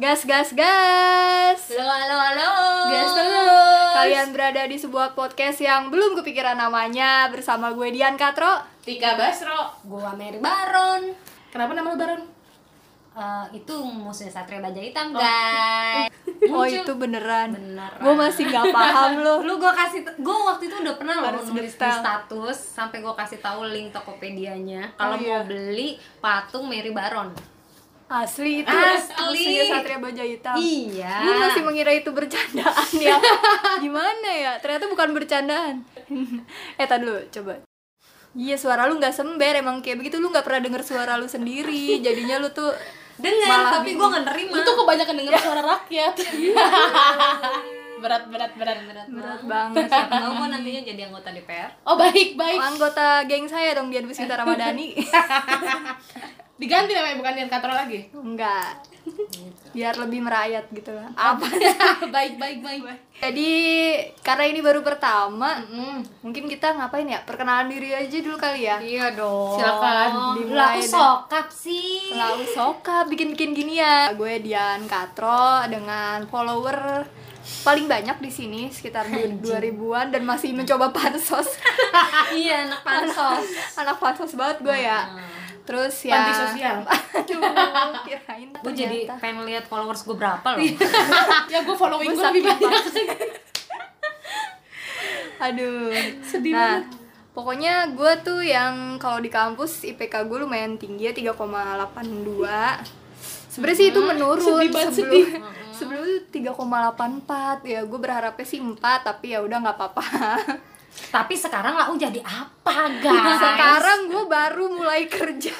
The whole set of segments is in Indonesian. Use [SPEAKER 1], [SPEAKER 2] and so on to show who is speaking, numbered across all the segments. [SPEAKER 1] Gas, gas, gas.
[SPEAKER 2] Halo, halo, halo.
[SPEAKER 1] Gas terus. Kalian berada di sebuah podcast yang belum kepikiran namanya bersama gue Dian Katro.
[SPEAKER 2] Tika Basro.
[SPEAKER 3] Gua Mary Baron.
[SPEAKER 2] Kenapa nama lu Baron?
[SPEAKER 3] Eh, itu musuhnya Satria Baja Hitam, guys.
[SPEAKER 1] Oh, itu beneran.
[SPEAKER 3] Beneran.
[SPEAKER 1] Gue masih nggak paham loh.
[SPEAKER 3] Lu gua kasih gua waktu itu udah pernah loh
[SPEAKER 1] Harus
[SPEAKER 3] nulis di
[SPEAKER 1] detail.
[SPEAKER 3] status sampai gua kasih tahu link Tokopedia-nya. Kalau
[SPEAKER 1] Oh, iya.
[SPEAKER 3] mau beli patung Mary Baron.
[SPEAKER 1] Asli itu.
[SPEAKER 3] Asli.
[SPEAKER 1] Aslinya Satria Baja Hitam.
[SPEAKER 3] Iya.
[SPEAKER 1] Gue masih mengira itu bercandaan ya. Gimana ya? Ternyata bukan bercandaan. eh, tadi dulu coba. Iya, suara lu nggak sember. Emang kayak begitu lu nggak pernah denger suara lu sendiri. Jadinya lu tuh
[SPEAKER 3] Dengar,
[SPEAKER 1] Malah
[SPEAKER 3] tapi gua nggak nerima. Iya.
[SPEAKER 2] Itu kebanyakan denger suara rakyat. berat, berat, berat, berat.
[SPEAKER 1] berat banget.
[SPEAKER 3] Siapa tahu gua nantinya jadi anggota DPR.
[SPEAKER 2] Oh baik,
[SPEAKER 1] Oh,
[SPEAKER 2] baik.
[SPEAKER 1] anggota geng saya dong Dian Puspita Ramadhani
[SPEAKER 2] Diganti namanya bukan Dian Katro lagi.
[SPEAKER 1] enggak biar lebih merayat gitu lah apa
[SPEAKER 2] baik, baik, baik.
[SPEAKER 1] jadi karena ini baru pertama
[SPEAKER 3] Hmm.
[SPEAKER 1] mungkin kita ngapain ya perkenalan diri aja dulu kali ya
[SPEAKER 3] Iya dong.
[SPEAKER 2] Silakan,
[SPEAKER 3] Lah,
[SPEAKER 1] dimulai
[SPEAKER 3] aku
[SPEAKER 1] deh.
[SPEAKER 3] sokap sih.
[SPEAKER 1] Lau Soka bikin-bikin gini ya. Gue Dian Katro dengan follower paling banyak di sini sekitar 2000-an dan masih mencoba pansos.
[SPEAKER 3] iya, anak pansos.
[SPEAKER 1] Anak pansos banget gue ya. Terus ya
[SPEAKER 2] Panti sosial.
[SPEAKER 1] Aduh, kirain
[SPEAKER 3] Gue jadi
[SPEAKER 1] ternyata.
[SPEAKER 3] pengen lihat followers gue berapa loh.
[SPEAKER 2] ya gue following
[SPEAKER 1] Gua sakit
[SPEAKER 2] gue lebih banyak.
[SPEAKER 1] Aduh,
[SPEAKER 2] Sedih
[SPEAKER 1] nah, Pokoknya gue tuh yang kalau di kampus IPK gue lumayan tinggi ya 3,82 Sebenernya sih itu menurun
[SPEAKER 2] Hmm, sedih banget,
[SPEAKER 1] sebelum sebelum itu 3,84 ya gue berharapnya sih 4 tapi ya udah nggak apa-apa.
[SPEAKER 3] Tapi sekarang lau jadi apa, guys?
[SPEAKER 1] Sekarang gue baru mulai kerja.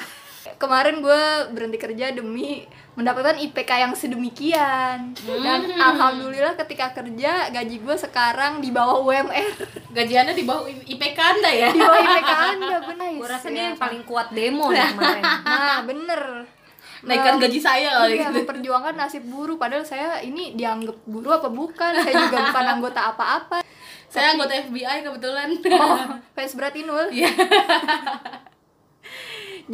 [SPEAKER 1] Kemarin gue berhenti kerja demi mendapatkan IPK yang sedemikian dan
[SPEAKER 2] Hmm.
[SPEAKER 1] alhamdulillah ketika kerja gaji gue sekarang di bawah UMR
[SPEAKER 2] Gajiannya di bawah IPK Anda ya.
[SPEAKER 1] di bawah IPK anda benar
[SPEAKER 3] Gue rasa dia yang paling kuat demo nih kemarin.
[SPEAKER 1] nah bener
[SPEAKER 2] Naikkan
[SPEAKER 1] Mem-
[SPEAKER 2] gaji saya kali
[SPEAKER 1] iya,
[SPEAKER 2] gitu.
[SPEAKER 1] memperjuangkan nasib buruh padahal saya ini dianggap buruh apa bukan saya juga bukan anggota apa-apa
[SPEAKER 2] Saya anggota FBI kebetulan. Oh.
[SPEAKER 1] fans berat inul
[SPEAKER 2] Iya.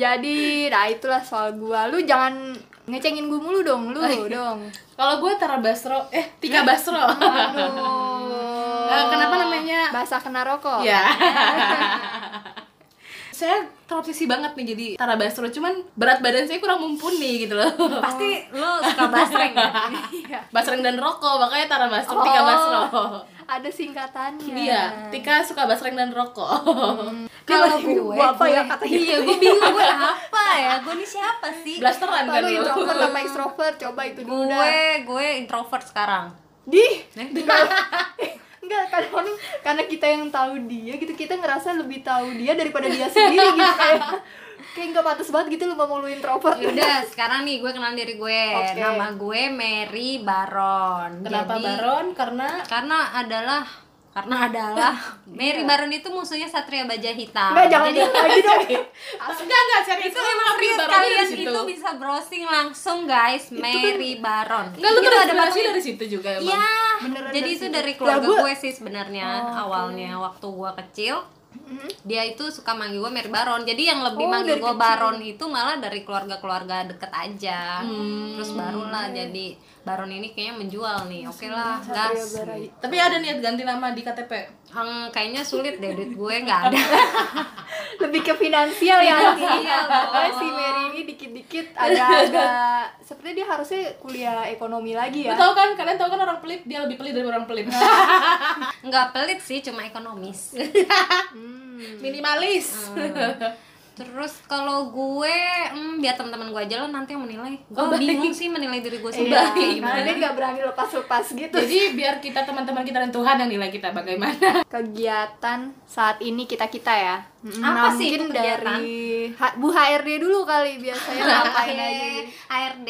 [SPEAKER 1] jadi nah itulah soal gua lu jangan ngecengin gua mulu dong
[SPEAKER 2] Oh,
[SPEAKER 1] lu
[SPEAKER 2] iya.
[SPEAKER 1] dong
[SPEAKER 2] Kalau gue Tara Basro, eh Tika Basro.
[SPEAKER 1] aduh
[SPEAKER 2] Eh, kenapa namanya
[SPEAKER 1] bahasa kena rokok
[SPEAKER 2] Ya. saya terobsesi banget nih jadi Tara Basro, cuman berat badan saya kurang mumpuni gitu loh.
[SPEAKER 3] Pasti lo suka basreng ya?
[SPEAKER 2] Basreng dan rokok, makanya Tara Basro,
[SPEAKER 1] Oh.
[SPEAKER 2] Tika Basro.
[SPEAKER 1] ada singkatannya
[SPEAKER 2] Iya, Tika suka basreng dan rokok.
[SPEAKER 1] kalau
[SPEAKER 3] Gue,
[SPEAKER 1] gue apa ya
[SPEAKER 3] gue-
[SPEAKER 1] katanya
[SPEAKER 3] Iya, gue bingung gue apa ya? Gue ini siapa sih?
[SPEAKER 2] Blasteran
[SPEAKER 1] Apa
[SPEAKER 2] kan
[SPEAKER 1] lu
[SPEAKER 2] lu.
[SPEAKER 1] introvert sama extrovert? Coba itu dulu
[SPEAKER 3] Gue,
[SPEAKER 1] dah.
[SPEAKER 3] gue introvert sekarang.
[SPEAKER 1] Di. Enggak, kadang karena kita yang tahu dia gitu, kita ngerasa lebih tahu dia daripada dia sendiri gitu kayak kayak nggak pantas banget gitu lu ngomong lu introvert.
[SPEAKER 3] Yaudah, sekarang nih gue kenal diri gue.
[SPEAKER 1] Oke.
[SPEAKER 3] Nama gue Mary Baron.
[SPEAKER 2] Kenapa
[SPEAKER 3] Jadi,
[SPEAKER 2] Baron? Karena
[SPEAKER 3] Karena adalah karena adalah Mary Baron itu musuhnya Satria Baja Hitam.
[SPEAKER 1] Enggak, Iya. jangan
[SPEAKER 3] Jadi
[SPEAKER 1] dia lagi dong.
[SPEAKER 2] enggak enggak serius
[SPEAKER 3] itu emang
[SPEAKER 2] Tapi
[SPEAKER 3] serius
[SPEAKER 2] Baronnya
[SPEAKER 3] kalian
[SPEAKER 2] dari situ.
[SPEAKER 3] itu bisa browsing langsung guys
[SPEAKER 1] kan
[SPEAKER 3] Mary Baron.
[SPEAKER 1] Iya.
[SPEAKER 2] Enggak lu
[SPEAKER 3] Itu ada
[SPEAKER 2] terinspirasi
[SPEAKER 3] patungnya.
[SPEAKER 2] Iya, dari situ juga emang.
[SPEAKER 3] Iya.
[SPEAKER 1] Beneran
[SPEAKER 3] Jadi
[SPEAKER 1] dari
[SPEAKER 3] itu
[SPEAKER 1] situ.
[SPEAKER 3] dari
[SPEAKER 1] Lah,
[SPEAKER 3] keluarga
[SPEAKER 1] Ya, gua- Oh,
[SPEAKER 3] gue sih sebenarnya awalnya waktu gue kecil. Dia itu suka manggil gue Mary Baron. Jadi yang lebih
[SPEAKER 1] Oh,
[SPEAKER 3] manggil
[SPEAKER 1] dari
[SPEAKER 3] gue
[SPEAKER 1] kecil.
[SPEAKER 3] Baron itu malah dari keluarga-keluarga deket aja.
[SPEAKER 1] Hmm.
[SPEAKER 3] Terus barulah jadi Baron ini kayaknya menjual nih. Oke lah,
[SPEAKER 1] Iya,
[SPEAKER 3] gas.
[SPEAKER 2] Tapi ada niat ganti nama di KTP.
[SPEAKER 3] Hmm, kayaknya sulit deh duit gue nggak ada.
[SPEAKER 1] Lebih ke finansial ya nanti.
[SPEAKER 3] Iya,
[SPEAKER 1] Pokoknya si Mary ini dikit-dikit agak-agak sepertinya dia harusnya kuliah ekonomi lagi
[SPEAKER 2] Lu
[SPEAKER 1] ya.
[SPEAKER 2] tahu kan kalian tahu kan orang pelit dia lebih pelit dari orang pelit.
[SPEAKER 3] Nggak pelit sih, cuma ekonomis.
[SPEAKER 2] Minimalis.
[SPEAKER 3] Terus kalau gue, hmm, biar teman-teman gue aja lah nanti yang menilai. Gue
[SPEAKER 2] Oh, baik.
[SPEAKER 3] bingung sih menilai diri gue sendiri.
[SPEAKER 1] Iya, karena dia nggak berani lepas-lepas gitu.
[SPEAKER 2] Jadi biar kita teman-teman kita dan Tuhan yang nilai kita bagaimana.
[SPEAKER 1] kegiatan saat ini kita kita ya Mm,
[SPEAKER 3] Apa sih itu
[SPEAKER 1] mungkin
[SPEAKER 3] kegiatan?
[SPEAKER 1] dari H- Bu HRD dulu kali biasanya ngapain aja gitu.
[SPEAKER 3] Oke, ARD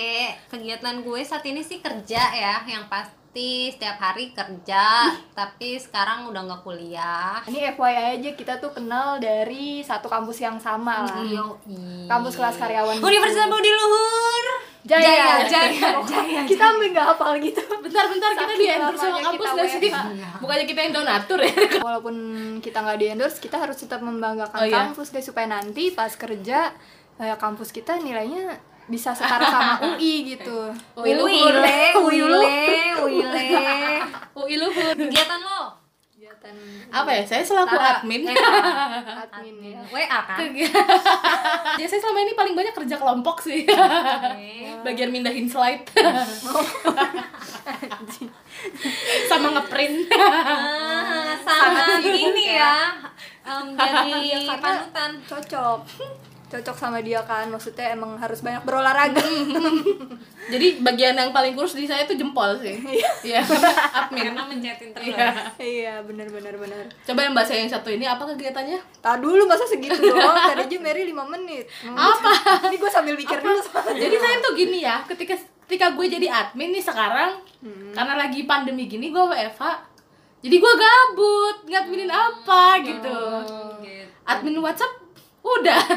[SPEAKER 3] kegiatan gue saat ini sih kerja ya yang pasti setiap hari kerja tapi sekarang udah nggak kuliah
[SPEAKER 1] ini FYI aja kita tuh kenal dari satu kampus yang sama lah
[SPEAKER 3] Iya. Yoi.
[SPEAKER 1] Iya. Kampus kelas karyawan gitu.
[SPEAKER 3] Universitas Budi Luhur
[SPEAKER 1] Jaya
[SPEAKER 3] Jaya Jaya, Jaya.
[SPEAKER 1] kita sampai nggak hafal gitu
[SPEAKER 2] Bentar-bentar kita
[SPEAKER 1] Saking
[SPEAKER 2] di endorse sama
[SPEAKER 1] lamanya
[SPEAKER 2] kampus
[SPEAKER 1] kita
[SPEAKER 2] gak sih?
[SPEAKER 1] WFH.
[SPEAKER 2] Bukannya kita yang donatur ya?
[SPEAKER 1] walaupun kita nggak di endorse kita harus tetap membanggakan
[SPEAKER 2] Oh, iya.
[SPEAKER 1] kampus deh supaya nanti pas kerja eh, kampus kita nilainya bisa setara sama UI gitu
[SPEAKER 2] Ui luhur.
[SPEAKER 3] Uile, uile, uile.
[SPEAKER 2] UI Luhur.
[SPEAKER 3] Kegiatan lo?
[SPEAKER 1] kegiatan
[SPEAKER 2] Apa ya? Saya selaku
[SPEAKER 3] Tara.
[SPEAKER 2] admin.
[SPEAKER 3] Eh,
[SPEAKER 1] admin ya
[SPEAKER 3] WA kan?
[SPEAKER 2] Ya saya selama ini paling banyak kerja kelompok sih. Bagian mindahin slide. Sama ngeprint.
[SPEAKER 3] Ah, sama ini ya. Em, jadi
[SPEAKER 1] Iya, karena-
[SPEAKER 3] panutan.
[SPEAKER 1] cocok cocok sama dia kan maksudnya emang harus banyak berolahraga
[SPEAKER 2] Jadi bagian yang paling kurus di saya tuh jempol sih. Iya. admin.
[SPEAKER 3] Karena mencetin terus.
[SPEAKER 2] Iya.
[SPEAKER 1] iya bener bener bener
[SPEAKER 2] Coba yang bahasa yang satu ini apa kegiatannya?
[SPEAKER 1] tak dulu masa segitu doang tadi aja Mary 5 menit apa ini gue sambil mikir dulu soalnya
[SPEAKER 2] Jadi saya tuh gini ya, ketika ketika gue jadi admin nih sekarang karena lagi pandemi gini gue WFH. Jadi gue gabut, ngadminin apa gitu.
[SPEAKER 3] Gitu.
[SPEAKER 2] Admin WhatsApp udah.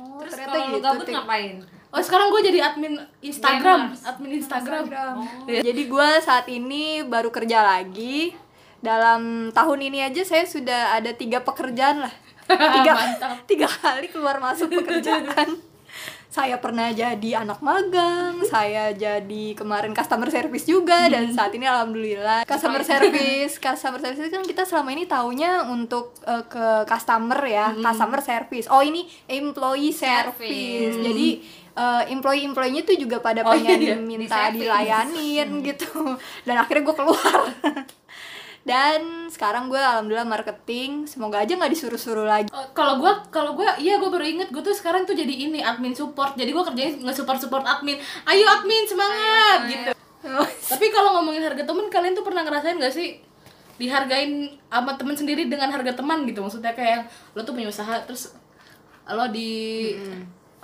[SPEAKER 1] Oh,
[SPEAKER 3] Terus
[SPEAKER 1] ternyata
[SPEAKER 3] kalau lu
[SPEAKER 1] gitu
[SPEAKER 3] gabut
[SPEAKER 1] Tik.
[SPEAKER 3] ngapain?
[SPEAKER 2] Oh, sekarang gue jadi admin Instagram, admin Instagram.
[SPEAKER 1] Instagram. Oh. Ya, Jadi gue saat ini baru kerja lagi. Dalam tahun ini aja saya sudah ada tiga pekerjaan lah. Tiga, tiga kali keluar masuk pekerjaan. saya pernah jadi anak magang, saya jadi kemarin customer service juga
[SPEAKER 2] Hmm.
[SPEAKER 1] dan saat ini alhamdulillah customer service, customer service kan kita selama ini taunya untuk eh, ke customer ya,
[SPEAKER 2] Hmm.
[SPEAKER 1] customer service. Oh ini employee service.
[SPEAKER 3] Service.
[SPEAKER 1] Jadi eh, employee-employee-nya tuh juga pada
[SPEAKER 2] Oh,
[SPEAKER 1] pengen
[SPEAKER 2] iya.
[SPEAKER 1] minta
[SPEAKER 3] Di-saving.
[SPEAKER 1] dilayanin gitu dan akhirnya gue keluar dan sekarang gue alhamdulillah marketing semoga aja nggak disuruh-suruh lagi
[SPEAKER 2] Oh, Kalau gue, kalau gue, iya gue baru inget gue tuh sekarang tuh jadi ini admin support. Jadi gue kerjanya nge-support support admin. Ayo admin semangat gitu. Tapi kalau ngomongin harga temen, kalian tuh pernah ngerasain gak sih dihargain sama temen sendiri dengan harga teman gitu? Maksudnya kayak lo tuh punya usaha terus lo di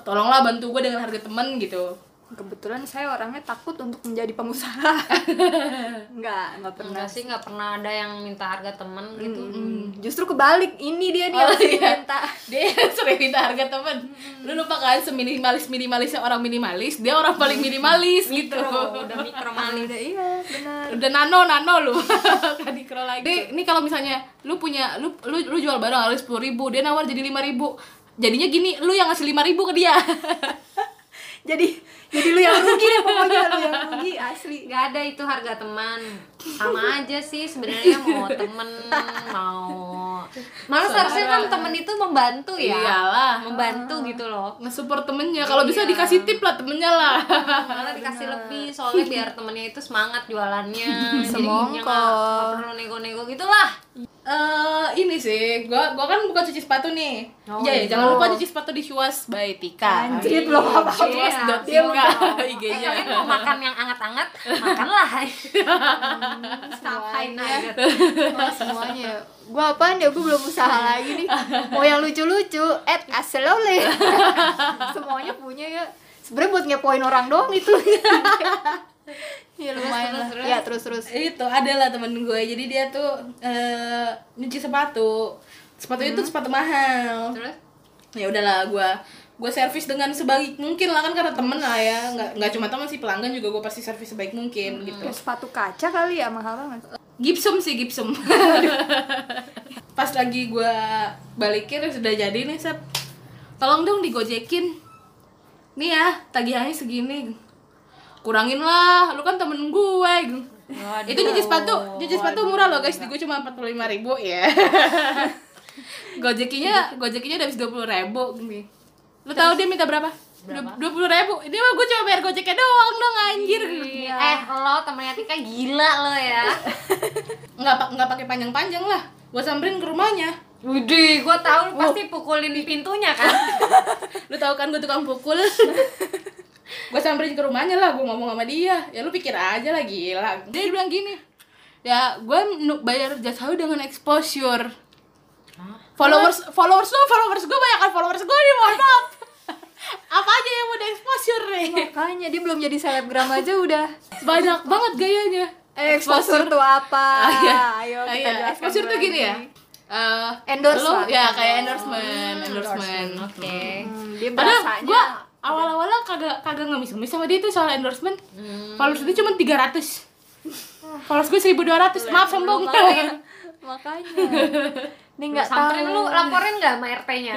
[SPEAKER 2] tolonglah bantu gue dengan harga temen gitu.
[SPEAKER 1] kebetulan saya orangnya takut untuk menjadi pengusaha nggak nggak pernah
[SPEAKER 3] Enggak sih, nggak pernah ada yang minta harga temen gitu.
[SPEAKER 1] Mm, justru kebalik ini dia dia
[SPEAKER 2] Oh,
[SPEAKER 1] yang sering
[SPEAKER 2] iya.
[SPEAKER 1] minta
[SPEAKER 2] dia sering minta harga temen lu lupa kan seminimalis minimalisnya orang minimalis dia orang paling minimalis gitu
[SPEAKER 3] Mikro, udah mikro manis.
[SPEAKER 1] Udah, iya benar
[SPEAKER 2] udah nano nano lu kadikro lagi Jadi, ini kalau misalnya lu punya lu lu, lu jual barang harus sepuluh ribu dia nawar jadi lima ribu jadinya gini lu yang ngasih lima ribu ke dia
[SPEAKER 1] jadi jadi lu yang rugi deh pokoknya lu yang rugi asli
[SPEAKER 3] nggak ada itu harga teman sama aja sih sebenarnya mau temen mau malah seharusnya kan temen itu membantu ya
[SPEAKER 2] Iyalah.
[SPEAKER 3] membantu gitu loh
[SPEAKER 2] nge-support temennya kalau bisa dikasih tip lah temennya lah
[SPEAKER 3] malah dikasih lebih soalnya biar temennya itu semangat jualannya Jadi
[SPEAKER 1] Semongko.
[SPEAKER 3] nggak- nggak perlu nego-nego gitulah
[SPEAKER 2] eh ini sih, gua gua kan bukan cuci sepatu nih.
[SPEAKER 3] Oh,
[SPEAKER 2] Iya, ya,
[SPEAKER 3] iya.
[SPEAKER 2] jangan lupa cuci sepatu di Shuas by Tika.
[SPEAKER 1] Anjir, belum apa-apa.
[SPEAKER 3] Iya,
[SPEAKER 2] Shuas.tika IG-nya.
[SPEAKER 3] kalian mau Eh, makan yang anget-anget makanlah sampai nugget
[SPEAKER 1] Oh, semuanya gue apaan ya gue belum usaha
[SPEAKER 2] Iya.
[SPEAKER 1] lagi nih mau yang lucu-lucu at aslole semuanya punya ya sebenarnya buat ngepoin orang doang itu
[SPEAKER 2] Iya,
[SPEAKER 1] ya lumayan lah
[SPEAKER 3] terus, terus.
[SPEAKER 1] ya terus terus
[SPEAKER 2] itu adalah temen gue jadi dia tuh eh, nyuci sepatu sepatu itu sepatu mahal
[SPEAKER 3] terus
[SPEAKER 2] ya udahlah gue gue servis dengan sebaik mungkin lah kan karena temen lah ya nggak nggak cuma temen sih pelanggan juga gue pasti servis sebaik mungkin gitu
[SPEAKER 1] sepatu kaca kali ya mahal banget
[SPEAKER 2] gipsum sih gipsum pas lagi gue balikin ya sudah jadi nih sep tolong dong digojekin nih ya tagihannya segini kurangin lah lu kan temen gue itu nyuci sepatu nyuci sepatu murah loh guys di gue cuma empat puluh ribu ya gojekinya gojekinya udah habis dua puluh ribu nih lu tahu dia minta berapa dua puluh ribu ini mah gue cuma bayar gojeknya doang dong anjir
[SPEAKER 3] eh lo temennya Tika gila lo ya
[SPEAKER 2] nggak pa- nggak pakai panjang-panjang lah gue samperin ke rumahnya
[SPEAKER 3] Widih, gue tahu lu pasti pukulin pintunya kan.
[SPEAKER 2] lu tahu kan gue tukang pukul gue samperin ke rumahnya lah gue ngomong sama dia ya lu pikir aja lah gila dia bilang gini ya gue nu- bayar jasa lu dengan exposure followers followers lu followers gue banyak kan? followers gue nih mohon maaf apa aja yang udah exposure nih
[SPEAKER 1] makanya dia belum jadi selebgram aja udah
[SPEAKER 2] banyak banget gayanya
[SPEAKER 1] eh, exposure tuh apa
[SPEAKER 2] Ah, iya.
[SPEAKER 1] ayo
[SPEAKER 2] Ah,
[SPEAKER 1] kita
[SPEAKER 2] iya.
[SPEAKER 1] jelaskan
[SPEAKER 2] exposure tuh gini ya
[SPEAKER 1] lagi.
[SPEAKER 2] Eh,
[SPEAKER 1] Endorsement. Oh.
[SPEAKER 2] lu- ya kayak endorsement endorsement,
[SPEAKER 3] Oke.
[SPEAKER 1] Hmm, dia
[SPEAKER 2] Padahal
[SPEAKER 1] berasanya
[SPEAKER 2] gue awal-awalnya kagak kagak ngemis-ngemis sama dia itu soal endorsement.
[SPEAKER 1] Hmm.
[SPEAKER 2] Followers gue cuma 300.
[SPEAKER 1] Ah.
[SPEAKER 2] Followers gue 1200. Maaf sombong.
[SPEAKER 1] makanya ini nggak tahu
[SPEAKER 3] Samperin lu laporin nggak sama RT-nya?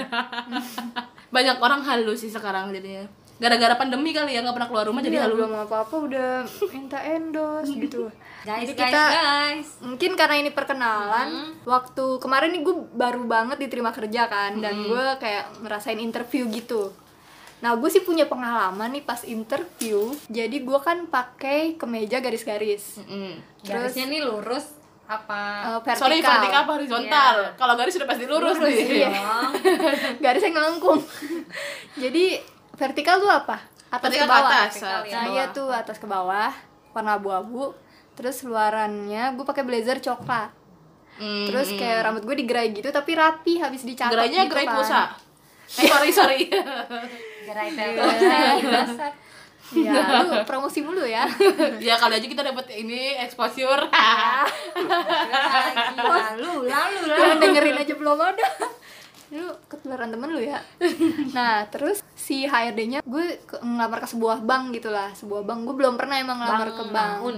[SPEAKER 2] Banyak orang halus sih sekarang jadinya. gara-gara pandemi kali ya nggak pernah keluar rumah jadi
[SPEAKER 1] Iya,
[SPEAKER 2] halu
[SPEAKER 1] belum apa-apa udah minta endorse gitu
[SPEAKER 3] Guys,
[SPEAKER 1] Jadi
[SPEAKER 3] guys,
[SPEAKER 1] kita-
[SPEAKER 3] guys.
[SPEAKER 1] mungkin karena ini
[SPEAKER 2] Mm-hmm.
[SPEAKER 1] perkenalan waktu kemarin nih gue baru banget diterima kerja kan dan
[SPEAKER 2] Mm-hmm.
[SPEAKER 1] gue kayak ngerasain interview gitu nah gue sih punya pengalaman nih pas interview jadi gue kan pakai kemeja garis-garis
[SPEAKER 2] Mm.
[SPEAKER 3] Garisnya nih lurus apa?
[SPEAKER 1] eh, vertikal,
[SPEAKER 2] Ah. sorry vertikal apa horizontal
[SPEAKER 3] Iya.
[SPEAKER 2] kalau garis sudah pasti lurus, nih
[SPEAKER 1] iya.
[SPEAKER 3] Dong.
[SPEAKER 1] garisnya ngelengkung jadi vertikal tuh apa atas
[SPEAKER 2] Vertikal
[SPEAKER 1] ke bawah
[SPEAKER 2] atas,
[SPEAKER 3] vertikal,
[SPEAKER 2] atas
[SPEAKER 1] nah
[SPEAKER 2] bawah.
[SPEAKER 1] iya tuh atas ke bawah warna abu-abu terus luarannya gue pakai blazer coklat
[SPEAKER 2] Mm,
[SPEAKER 1] terus
[SPEAKER 2] mm.
[SPEAKER 1] kayak rambut gue digerai gitu tapi rapi habis dicatok
[SPEAKER 2] gerainya
[SPEAKER 1] gitu
[SPEAKER 2] gerai
[SPEAKER 1] kan.
[SPEAKER 2] pulsa eh, sorry sorry
[SPEAKER 3] Gerai terus saya dimasak.
[SPEAKER 1] Iya, lu promosi mulu ya.
[SPEAKER 2] ya kali aja kita dapat ini exposure Iya.
[SPEAKER 3] Lalu, lalu, lalu.
[SPEAKER 1] Lu dengerin aja belum ada. Lu ketularan temen lu ya. Nah, terus si HRD-nya gue ke- ngelamar ke sebuah bank gitu lah. Sebuah bank, gue belum pernah emang ngelamar ke bank.
[SPEAKER 3] Bangun.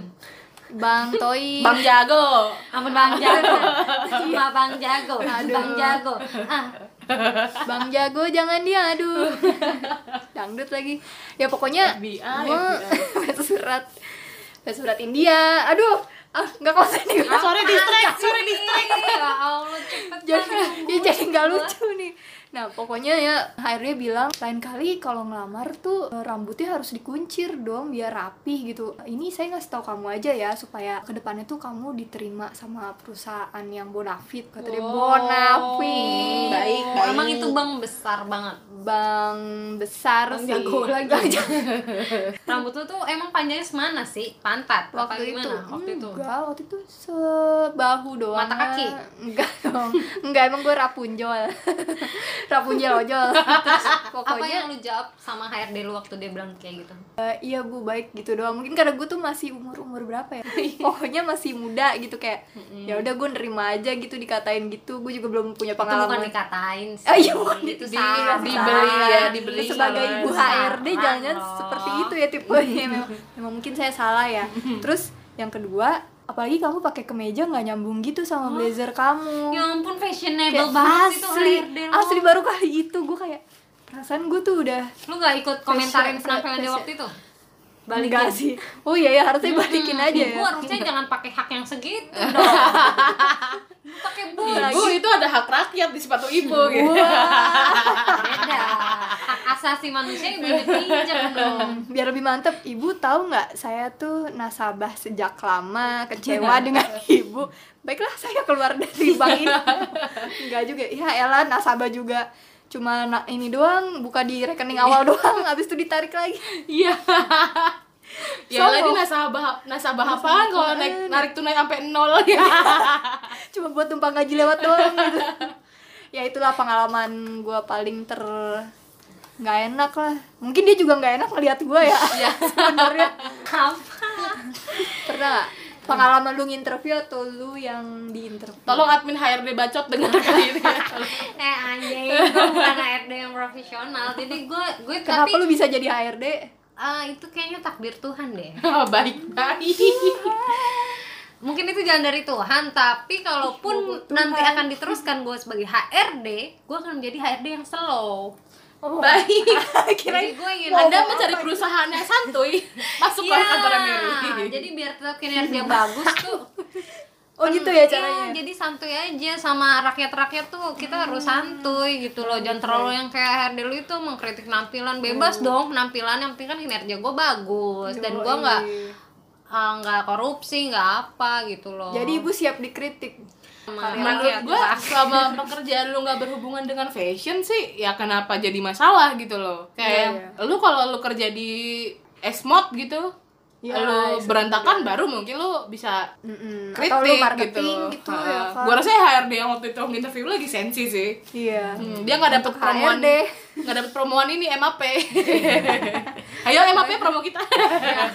[SPEAKER 1] Bang Toi.
[SPEAKER 2] bang jago
[SPEAKER 3] Ampun Bang Jago. Sama Bang Jago. Bang Jago. Ah,
[SPEAKER 1] Bang Jago jangan dia aduh. Dangdut lagi. Ya pokoknya
[SPEAKER 2] FBI,
[SPEAKER 1] gue baca surat baca surat India. Aduh, ah nggak konsen nih. gue.
[SPEAKER 2] sorry distract sorry
[SPEAKER 3] ih, Ya Allah, cepet
[SPEAKER 1] jadi
[SPEAKER 3] banget.
[SPEAKER 1] ya jadi nggak lucu nih nah pokoknya ya akhirnya bilang lain kali kalau ngelamar tuh eh, rambutnya harus dikuncir dong biar rapih gitu ini saya ngasih tahu kamu aja ya supaya kedepannya tuh kamu diterima sama perusahaan yang bonafit kata dia
[SPEAKER 2] Wow.
[SPEAKER 1] bonafit
[SPEAKER 2] Baik, baik.
[SPEAKER 3] Emang itu bang besar banget.
[SPEAKER 1] bang besar
[SPEAKER 3] Bang
[SPEAKER 1] sih
[SPEAKER 3] jago lagi.
[SPEAKER 1] Bang jago.
[SPEAKER 3] Rambut lu tuh emang panjangnya semana sih? Pantat? apa
[SPEAKER 1] waktu itu
[SPEAKER 3] gimana? Waktu itu.
[SPEAKER 1] enggak waktu itu sebahu doang
[SPEAKER 3] Mata kaki?
[SPEAKER 1] enggak dong enggak emang gue rapunjol rapunjel ojol terus
[SPEAKER 3] Apa ya?
[SPEAKER 1] pokoknya
[SPEAKER 3] yang lu jawab sama HRD lu waktu dia bilang kayak gitu?
[SPEAKER 1] Eh, iya bu baik gitu doang mungkin karena gue tuh masih umur umur berapa ya pokoknya masih muda gitu kayak ya udah gue nerima aja gitu dikatain gitu gue juga belum punya
[SPEAKER 3] Itu bukan
[SPEAKER 1] pengalaman
[SPEAKER 3] dikatain sih.
[SPEAKER 1] Ah, iya, bukan
[SPEAKER 3] itu
[SPEAKER 2] di-
[SPEAKER 3] saran.
[SPEAKER 2] dibeli
[SPEAKER 3] Iya,
[SPEAKER 2] ya, dibeli.
[SPEAKER 1] sebagai ibu
[SPEAKER 3] Saran
[SPEAKER 1] HRD jangan
[SPEAKER 3] loh.
[SPEAKER 1] seperti itu ya tipenya memang, memang mungkin saya salah ya terus yang kedua apalagi kamu pakai kemeja nggak nyambung gitu sama blazer kamu
[SPEAKER 3] Ya ampun fashionable
[SPEAKER 1] Kayak
[SPEAKER 3] banget itu
[SPEAKER 1] asli
[SPEAKER 3] HRD lu.
[SPEAKER 1] asli baru kali itu gue kayak perasaan gue tuh udah
[SPEAKER 3] Lu gak ikut komentarin
[SPEAKER 1] Fashion-
[SPEAKER 3] penampilan dia
[SPEAKER 1] fashion-
[SPEAKER 3] waktu itu?
[SPEAKER 1] balikin sih oh iya ya harusnya balikin aja ya
[SPEAKER 3] Ibu Hmm. harusnya jangan pakai hak yang segitu dong. Lu pakai bus.
[SPEAKER 2] ibu itu ada hak rakyat di sepatu ibu gitu
[SPEAKER 3] Beda. Hak asasi manusia yang udah dipinjam dong.
[SPEAKER 1] Hmm, biar lebih mantep ibu tahu nggak saya tuh nasabah sejak lama kecewa dengan ibu baiklah saya keluar dari bank ini nggak juga ya elah nasabah juga cuma na- ini doang buka di rekening awal doang habis itu ditarik lagi
[SPEAKER 2] Iya. Ya lah ini
[SPEAKER 1] Sombong.
[SPEAKER 2] nasabah nasabah apaan kalau naik narik tunai sampai nol ya.
[SPEAKER 1] cuma buat tumpang gaji lewat doang gitu ya itulah pengalaman gua paling ter nggak enak lah mungkin dia juga nggak enak melihat gua ya sebenarnya
[SPEAKER 3] Apa?
[SPEAKER 1] pernah nggak pengalaman lu nginterview atau lu yang diinterview
[SPEAKER 2] Tolong admin HRD bacot dengarkan ini.
[SPEAKER 3] Eh anjing, gue bukan HRD yang profesional. Jadi gue gue
[SPEAKER 1] Kenapa
[SPEAKER 3] tapi
[SPEAKER 1] lu bisa jadi HRD?
[SPEAKER 3] eh, itu kayaknya takdir Tuhan deh.
[SPEAKER 2] Baik-baik.
[SPEAKER 3] Mungkin itu jalan dari Tuhan, tapi kalaupun nanti akan diteruskan gue sebagai HRD, gue akan menjadi HRD yang slow.
[SPEAKER 2] Baik.
[SPEAKER 3] Jadi gue ingin
[SPEAKER 2] Anda mencari perusahaan yang santuy, masuk ke
[SPEAKER 3] Iya,
[SPEAKER 2] kantor Mary.
[SPEAKER 3] Jadi biar tetap kinerja bagus tuh.
[SPEAKER 1] Oh gitu ya
[SPEAKER 3] Iya,
[SPEAKER 1] caranya. Hmm.
[SPEAKER 3] jadi santuy aja sama rakyat-rakyat tuh kita harus santuy gitu loh. Jangan terlalu yang kayak HRD lu itu mengkritik penampilan bebas dong penampilan yang penting kan kinerja gue bagus dan gue
[SPEAKER 1] Hmm. Yoi.
[SPEAKER 3] nggak ah, nggak korupsi nggak apa gitu loh.
[SPEAKER 1] Jadi ibu siap dikritik.
[SPEAKER 3] Sama
[SPEAKER 2] Menurut
[SPEAKER 3] rakyat,
[SPEAKER 2] gue
[SPEAKER 1] gitu.
[SPEAKER 3] Pak.
[SPEAKER 2] selama pekerjaan lu nggak berhubungan dengan fashion sih, ya kenapa jadi masalah gitu loh. Kayak lu kalau lu kerja di Esmod gitu,
[SPEAKER 1] Iya,
[SPEAKER 2] lu berantakan baru mungkin lu bisa
[SPEAKER 1] Mm-mm.
[SPEAKER 2] kritik
[SPEAKER 1] atau lu marketing gitu,
[SPEAKER 2] gitu, Ha.
[SPEAKER 1] ya kan?
[SPEAKER 2] Gua rasa HRD yang waktu itu interview lagi sensi sih
[SPEAKER 1] Iya.
[SPEAKER 2] Hmm, dia nggak dapet promoan
[SPEAKER 1] HRD.
[SPEAKER 2] nggak dapet promoan ini MAP ayo MAP promo kita
[SPEAKER 1] ya.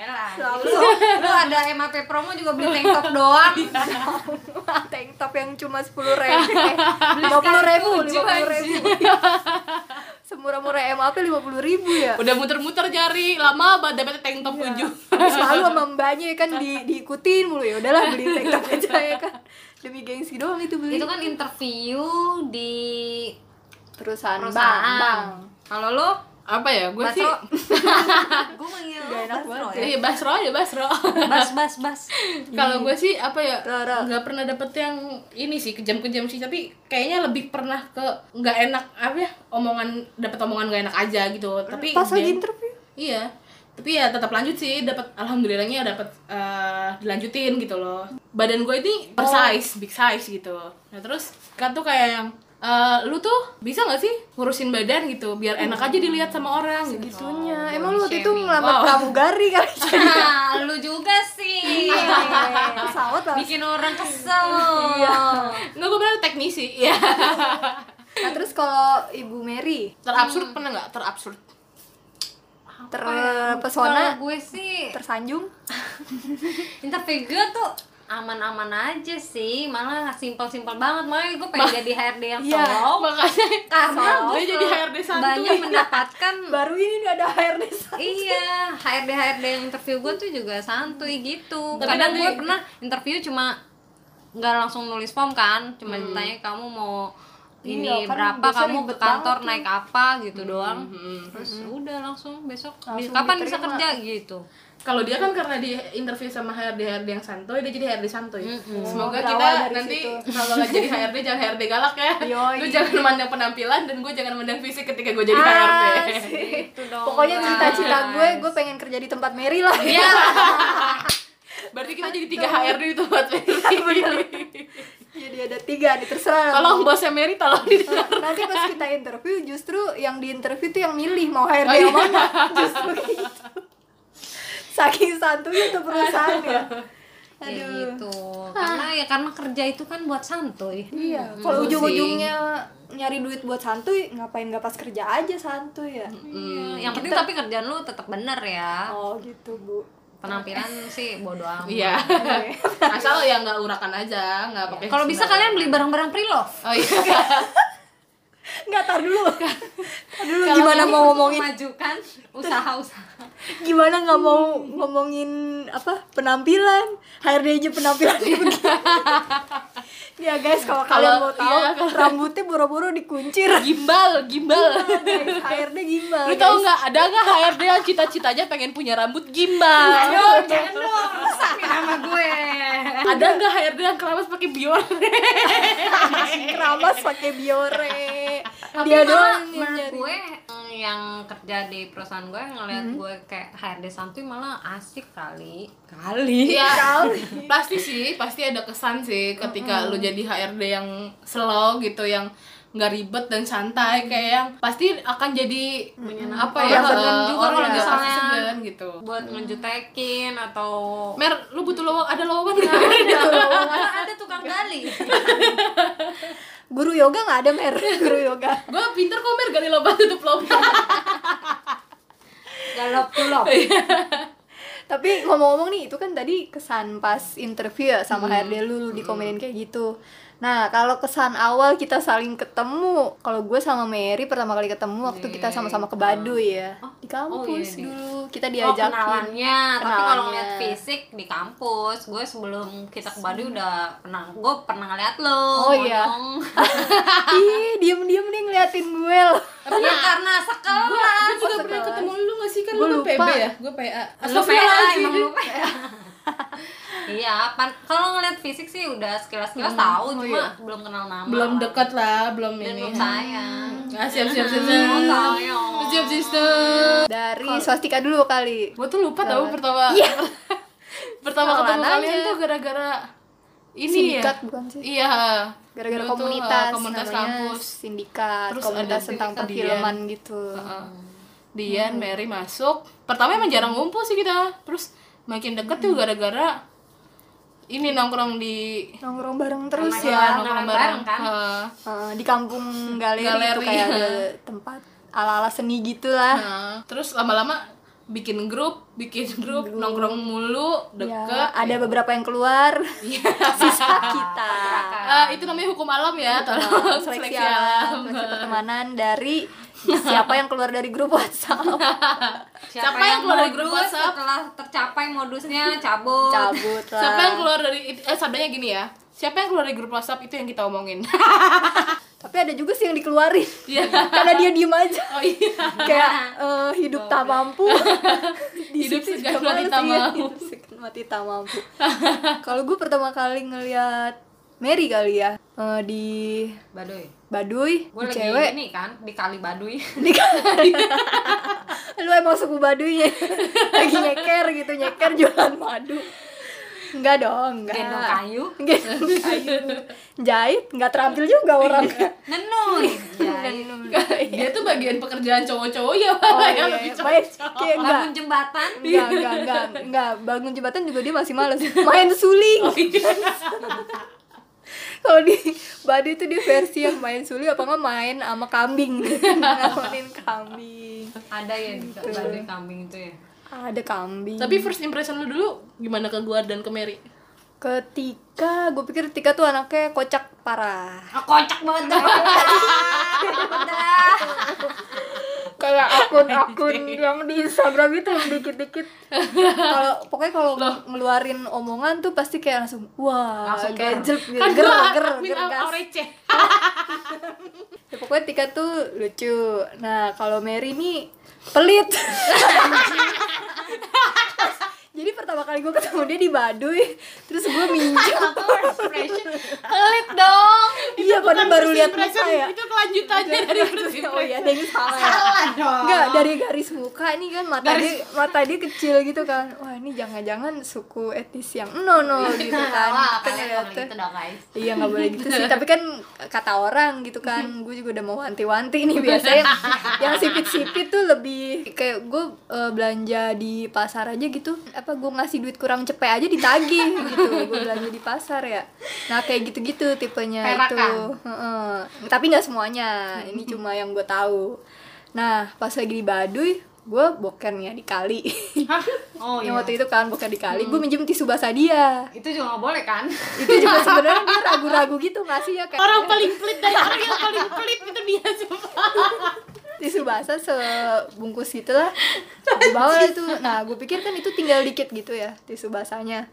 [SPEAKER 3] Apalah. Lu, lu ada MAP promo juga beli tank top doang.
[SPEAKER 1] Tank top yang cuma sepuluh ribu, lima puluh ribu,
[SPEAKER 3] tujuh,
[SPEAKER 1] lima puluh ribu. Semurah-murah MAP lima puluh ribu ya.
[SPEAKER 2] udah muter-muter jari lama banget dapet tank
[SPEAKER 1] Iya.
[SPEAKER 2] top tujuh
[SPEAKER 1] Habis malu sama mbaknya ya kan di, diikutin mulu ya. Udahlah beli tank top aja ya kan. Demi gengsi doang itu beli.
[SPEAKER 3] itu kan interview di
[SPEAKER 1] perusahaan,
[SPEAKER 3] perusahaan.
[SPEAKER 1] bank.
[SPEAKER 3] Kalau lu
[SPEAKER 2] apa ya gue sih
[SPEAKER 3] Basro. gue manggil lo Basro
[SPEAKER 1] Oh,
[SPEAKER 3] ya.
[SPEAKER 2] Iya, Basro aja Basro.
[SPEAKER 3] Bas bas bas.
[SPEAKER 2] Kalau gue sih apa ya
[SPEAKER 1] Rara.
[SPEAKER 2] nggak pernah dapet yang ini sih kejam-kejam sih tapi kayaknya lebih pernah ke nggak enak apa ya omongan dapet omongan nggak enak aja gitu tapi
[SPEAKER 1] pas lagi
[SPEAKER 2] dia-
[SPEAKER 1] interview
[SPEAKER 3] Oh,
[SPEAKER 2] iya tapi ya tetap lanjut sih dapat alhamdulillahnya dapat eh, dilanjutin gitu loh badan gue ini bersize big size gitu nah terus kan tuh kayak yang eh, lu tuh bisa nggak sih ngurusin badan gitu biar enak aja dilihat sama orang gitu
[SPEAKER 1] gitunya emang lu waktu itu
[SPEAKER 3] shaming. Oh.
[SPEAKER 1] ngelamar
[SPEAKER 2] Wow.
[SPEAKER 1] pramugari kan? kali
[SPEAKER 3] Nah, lu juga sih.
[SPEAKER 1] Iya. pesawat lah
[SPEAKER 3] Bikin orang kesel. ya?
[SPEAKER 2] nggak gue bilang teknisi ya
[SPEAKER 1] nah terus kalau ibu Mary
[SPEAKER 2] terabsurd pernah nggak terabsurd
[SPEAKER 1] terpesona
[SPEAKER 3] Kalau gue sih
[SPEAKER 1] tersanjung
[SPEAKER 3] interview gue tuh aman-aman aja sih malah simpel-simpel banget makanya gue pengen jadi HRD yang
[SPEAKER 1] Iya.
[SPEAKER 3] slow
[SPEAKER 2] makanya
[SPEAKER 3] karena
[SPEAKER 2] Dia
[SPEAKER 3] gue
[SPEAKER 2] jadi HRD santuy.
[SPEAKER 3] banyak mendapatkan
[SPEAKER 1] Hmm, baru ini nih ada HRD
[SPEAKER 3] iya HRD HRD yang interview gue tuh juga santuy gitu
[SPEAKER 2] Tapi
[SPEAKER 3] kadang
[SPEAKER 2] nanti-
[SPEAKER 3] gue pernah interview cuma nggak langsung nulis form kan cuma ditanya kamu mau ini
[SPEAKER 1] Hmm. Iya, kan
[SPEAKER 3] berapa
[SPEAKER 1] biasanya
[SPEAKER 3] kamu ke
[SPEAKER 1] ribet
[SPEAKER 3] kantor
[SPEAKER 1] banget Hmm,
[SPEAKER 3] naik apa gitu doang terus ya udah langsung besok bi-
[SPEAKER 1] Langsung
[SPEAKER 3] kapan bisa
[SPEAKER 1] diterima.
[SPEAKER 3] kerja gitu
[SPEAKER 2] kalau dia kan karena di interview sama HRD HRD yang santuy dia jadi HRD santuy semoga
[SPEAKER 1] Oh,
[SPEAKER 2] kita
[SPEAKER 1] berawal dari
[SPEAKER 2] nanti
[SPEAKER 1] situ.
[SPEAKER 2] kalau nggak jadi HRD jangan HRD galak ya
[SPEAKER 1] Yoi.
[SPEAKER 2] lu jangan memandang penampilan dan gue jangan memandang fisik ketika gue jadi HRD
[SPEAKER 1] Asik.
[SPEAKER 3] Gitu dong,
[SPEAKER 1] pokoknya
[SPEAKER 3] guys.
[SPEAKER 1] cita-cita gue gue pengen kerja di tempat Mary lah
[SPEAKER 3] Iya.
[SPEAKER 2] berarti kita jadi tiga HRD itu buat Mary
[SPEAKER 1] jadi ada tiga nih terserah Nah,
[SPEAKER 2] tolong bosnya Mary tolong didengar
[SPEAKER 1] nanti pas kita interview justru yang di interview tuh yang milih mau HRD yang mana justru gitu saking santunya tuh perusahaan ya
[SPEAKER 3] Ya
[SPEAKER 1] aduh
[SPEAKER 3] gitu. Karena ya karena kerja itu kan buat santuy.
[SPEAKER 1] iya kalau ujung-ujungnya nyari duit buat santuy ngapain nggak pas kerja aja santuy ya
[SPEAKER 3] Iya. Yang penting tapi kerjaan lu tetap bener ya.
[SPEAKER 1] oh gitu bu
[SPEAKER 3] Penampilan sih bodo amat.
[SPEAKER 2] iya asal ya nggak urakan aja nggak pakai
[SPEAKER 1] eh,
[SPEAKER 3] Kalau bisa kalian beli barang-barang pre-love.
[SPEAKER 2] oh iya
[SPEAKER 1] nggak tar dulu Tar dulu
[SPEAKER 3] Kalau
[SPEAKER 1] gimana
[SPEAKER 3] ini
[SPEAKER 1] mau
[SPEAKER 3] untuk
[SPEAKER 1] ngomongin
[SPEAKER 3] memajukan usaha-usaha.
[SPEAKER 1] gimana nggak mau ngomongin apa penampilan HRD aja penampilannya begini ya guys kalau kalian
[SPEAKER 2] Kalau-
[SPEAKER 1] mau tahu
[SPEAKER 2] iya, kalau-
[SPEAKER 1] rambutnya boro-boro dikuncir
[SPEAKER 2] gimbal gimbal
[SPEAKER 1] Guys, HRD gimbal
[SPEAKER 2] lu
[SPEAKER 1] guys.
[SPEAKER 2] tau nggak ada nggak HRD yang cita-citanya pengen punya rambut gimbal
[SPEAKER 3] Aduh, jangan dong. Rusakin nama gue.
[SPEAKER 2] ada nggak HRD yang keramas pakai biore
[SPEAKER 1] keramas pakai biore
[SPEAKER 3] Tapi
[SPEAKER 1] dia
[SPEAKER 3] malah
[SPEAKER 1] doang yang
[SPEAKER 3] menurut
[SPEAKER 1] nyari.
[SPEAKER 3] gue mm, yang kerja di perusahaan gue ngeliat gue kayak HRD santuy malah asik kali. Kali.
[SPEAKER 2] Iya.
[SPEAKER 1] Kali.
[SPEAKER 2] pasti sih pasti ada kesan sih ketika lu jadi HRD yang slow gitu yang nggak ribet dan santai kayak yang pasti akan jadi apa ya
[SPEAKER 1] Orang segan
[SPEAKER 2] eh,
[SPEAKER 3] juga kalau
[SPEAKER 2] yang pasti
[SPEAKER 3] misalnya.
[SPEAKER 2] segan gitu
[SPEAKER 3] buat ngejutekin atau
[SPEAKER 2] Mer lu butuh lowongan ada lowongan nggak?
[SPEAKER 3] Karena ada tukang gali
[SPEAKER 1] guru yoga nggak ada mer guru yoga
[SPEAKER 2] gue pinter kok Mer gali lubang tutup lubang
[SPEAKER 3] galop tulop
[SPEAKER 1] tapi ngomong-ngomong nih itu kan tadi kesan pas interview ya sama
[SPEAKER 2] Hmm.
[SPEAKER 1] HRD lu, lu dikomenin kayak gitu nah kalau kesan awal kita saling ketemu kalau gue sama Mary pertama kali ketemu waktu
[SPEAKER 2] Iya,
[SPEAKER 1] kita sama-sama ke Baduy ya
[SPEAKER 2] Oh.
[SPEAKER 1] di kampus
[SPEAKER 3] iya, iya.
[SPEAKER 1] dulu kita
[SPEAKER 3] oh,
[SPEAKER 1] diajakin
[SPEAKER 3] kenalannya tapi kalau
[SPEAKER 1] Kenalannya.
[SPEAKER 3] ngeliat fisik di kampus gue sebelum kita ke Bali udah pernah gue pernah ngeliat lo
[SPEAKER 1] Oh, iya.
[SPEAKER 3] ngomong.
[SPEAKER 1] ih diem-diem nih ngeliatin gue loh
[SPEAKER 3] ya karena sekelas
[SPEAKER 2] gue juga pernah ketemu lu nggak sih kan lu
[SPEAKER 1] Gua
[SPEAKER 2] kan PB
[SPEAKER 1] lupa.
[SPEAKER 2] ya gue
[SPEAKER 3] lu
[SPEAKER 2] PA
[SPEAKER 3] PA
[SPEAKER 2] Astagfirullahaladzim.
[SPEAKER 3] emang lu PA iya pan- kalau ngeliat fisik sih udah sekilas sekilas tahu cuma belum kenal nama
[SPEAKER 2] belum dekat lah belum
[SPEAKER 3] dan
[SPEAKER 2] ini
[SPEAKER 3] belum sayang
[SPEAKER 2] ah siap siap siap
[SPEAKER 3] Oh,
[SPEAKER 2] siap
[SPEAKER 3] sayang.
[SPEAKER 2] siap sister
[SPEAKER 1] dari swastika dulu kali
[SPEAKER 2] gue tuh lupa tau pertama
[SPEAKER 1] Iya.
[SPEAKER 2] pertama
[SPEAKER 1] Kenalan
[SPEAKER 2] ketemu kalian
[SPEAKER 1] aja.
[SPEAKER 2] tuh gara-gara ini
[SPEAKER 1] sindikat
[SPEAKER 2] ya
[SPEAKER 1] bukan sih
[SPEAKER 2] iya
[SPEAKER 1] gara-gara
[SPEAKER 2] Dulu tuh, uh,
[SPEAKER 1] komunitas,
[SPEAKER 2] komunitas
[SPEAKER 1] namanya
[SPEAKER 2] kampus
[SPEAKER 1] sindikat
[SPEAKER 2] Terus
[SPEAKER 1] komunitas
[SPEAKER 2] ada
[SPEAKER 1] tentang
[SPEAKER 2] sindikat
[SPEAKER 1] perfilman gitu
[SPEAKER 2] Heeh. Eh, Dian Mary masuk pertama emang jarang ngumpul sih kita terus makin deket tuh
[SPEAKER 1] Hmm.
[SPEAKER 2] gara-gara ini nongkrong di
[SPEAKER 1] nongkrong bareng terus
[SPEAKER 3] Namanya
[SPEAKER 1] ya
[SPEAKER 3] nongkrong bareng kan?
[SPEAKER 2] Heeh.
[SPEAKER 1] Eh, di kampung galeri, itu
[SPEAKER 2] Galeri,
[SPEAKER 1] kayak
[SPEAKER 2] ya.
[SPEAKER 1] ada tempat ala-ala seni gitulah.
[SPEAKER 2] Nah, terus lama-lama bikin grup bikin grup nongkrong mulu
[SPEAKER 1] Ya,
[SPEAKER 2] deket
[SPEAKER 1] ada beberapa yang keluar. Sisa kita. Eh,
[SPEAKER 2] Ah, itu namanya hukum alam ya tolong
[SPEAKER 1] Seleksi alam, seleksi pertemanan dari siapa yang keluar dari grup WhatsApp
[SPEAKER 3] Siapa,
[SPEAKER 2] Siapa yang
[SPEAKER 3] yang,
[SPEAKER 2] keluar dari grup
[SPEAKER 3] modus
[SPEAKER 2] WhatsApp?
[SPEAKER 3] setelah tercapai modusnya cabut.
[SPEAKER 1] cabut lah.
[SPEAKER 2] Siapa yang keluar dari eh sabdanya gini ya? Siapa yang keluar dari grup WhatsApp itu yang kita omongin.
[SPEAKER 1] Tapi tapi ada juga sih yang dikeluarin
[SPEAKER 2] Iya.
[SPEAKER 1] karena dia diem aja
[SPEAKER 2] Oh iya.
[SPEAKER 1] kayak eh, hidup tak mampu Di
[SPEAKER 2] Hidup
[SPEAKER 1] situ
[SPEAKER 2] segan
[SPEAKER 1] juga
[SPEAKER 2] mati
[SPEAKER 1] males,
[SPEAKER 2] tak
[SPEAKER 1] iya,
[SPEAKER 2] mampu.
[SPEAKER 1] hidup segan mati tak mampu kalau gue pertama kali ngeliat Mary kali ya eh, di
[SPEAKER 3] Baduy.
[SPEAKER 1] Baduy
[SPEAKER 3] Gue
[SPEAKER 1] di
[SPEAKER 3] lagi
[SPEAKER 1] cewek
[SPEAKER 3] ini kan di Kali Baduy.
[SPEAKER 1] Di kali. lu emang suku baduynya lagi nyeker gitu nyeker jualan madu enggak dong enggak
[SPEAKER 3] Gendong kayu.
[SPEAKER 1] Gendong kayu. jahit nggak terampil juga orang
[SPEAKER 3] Nenun. Iya. Jai.
[SPEAKER 2] Dia tuh bagian pekerjaan cowok-cowok ya,
[SPEAKER 1] Oh,
[SPEAKER 2] malah
[SPEAKER 1] iya,
[SPEAKER 2] yang lebih
[SPEAKER 1] Baik,
[SPEAKER 2] cocok.
[SPEAKER 1] kayak enggak
[SPEAKER 3] Bangun jembatan.
[SPEAKER 1] Enggak, enggak, enggak, enggak. Bangun jembatan juga dia masih males. Oh, iya. Main suling. Kalau di Badu itu dia versi yang main suling apa enggak main sama kambing. Ngamanin kambing.
[SPEAKER 3] Ada ya di Baduy kambing itu ya.
[SPEAKER 1] Ada kambing.
[SPEAKER 2] Tapi first impression lu dulu gimana ke Guar dan ke Mary?
[SPEAKER 1] ketika gue pikir Tika tuh anaknya kocak parah.
[SPEAKER 3] Ah, kocak banget dah. Udah.
[SPEAKER 1] Kayak akun-akun yang di Instagram itu yang dikit-dikit kalau pokoknya kalau ngeluarin omongan tuh pasti kayak langsung wah
[SPEAKER 3] Langsung
[SPEAKER 1] kayak
[SPEAKER 3] ger.
[SPEAKER 1] jelek gitu.
[SPEAKER 2] Kan
[SPEAKER 1] Ger,
[SPEAKER 2] gua
[SPEAKER 1] ger,
[SPEAKER 2] admin
[SPEAKER 1] ger, gas.
[SPEAKER 2] Aurece.
[SPEAKER 1] Ya, pokoknya Tika tuh lucu. Nah, kalau Mary nih pelit. Jadi pertama kali gue ketemu dia di Baduy, terus gue minjem.
[SPEAKER 3] Pelit dong.
[SPEAKER 1] iya,
[SPEAKER 2] Bukan
[SPEAKER 1] padahal baru
[SPEAKER 2] first
[SPEAKER 1] lihat
[SPEAKER 2] impression,
[SPEAKER 1] muka ya.
[SPEAKER 2] Itu kelanjutannya dari first
[SPEAKER 1] Oh iya,
[SPEAKER 2] impression.
[SPEAKER 1] ada yang salah ya. Enggak, dari garis muka ini kan mata dia mata dia kecil gitu kan. Wah, ini jangan-jangan suku etnis yang no no gitu kan.
[SPEAKER 3] Wah,
[SPEAKER 1] Kan
[SPEAKER 3] kalian
[SPEAKER 1] ya,
[SPEAKER 3] ngomong gitu dong guys.
[SPEAKER 1] Iya nggak boleh gitu sih, tapi kan kata orang gitu kan,
[SPEAKER 3] Mm-hmm.
[SPEAKER 1] gue juga udah mau wanti-wanti nih biasanya yang sipit-sipit tuh lebih kayak gue eh, belanja di pasar aja gitu, apa gue ngasih duit kurang cepet aja ditagih gitu, gue belanja di pasar ya, nah kayak gitu-gitu tipenya itu,
[SPEAKER 3] Perakan. Mm-hmm.
[SPEAKER 1] Heeh. tapi nggak semuanya, ini cuma yang gue tahu. Nah pas lagi di Baduy, gue bokernya di kali,
[SPEAKER 3] Hah? Oh iya. Mm-hmm.
[SPEAKER 1] yang waktu itu kan boker di kali, gue minjem tisu basah dia
[SPEAKER 3] Itu juga nggak boleh kan?
[SPEAKER 1] itu juga sebenarnya dia ragu-ragu gitu ngasih ya kayak
[SPEAKER 2] Orang paling pelit dari orang yang paling pelit itu dia sumpah.
[SPEAKER 1] tisu basah sebungkus gitu lah di bawah lah itu nah gue pikir kan itu tinggal dikit gitu ya tisu basahnya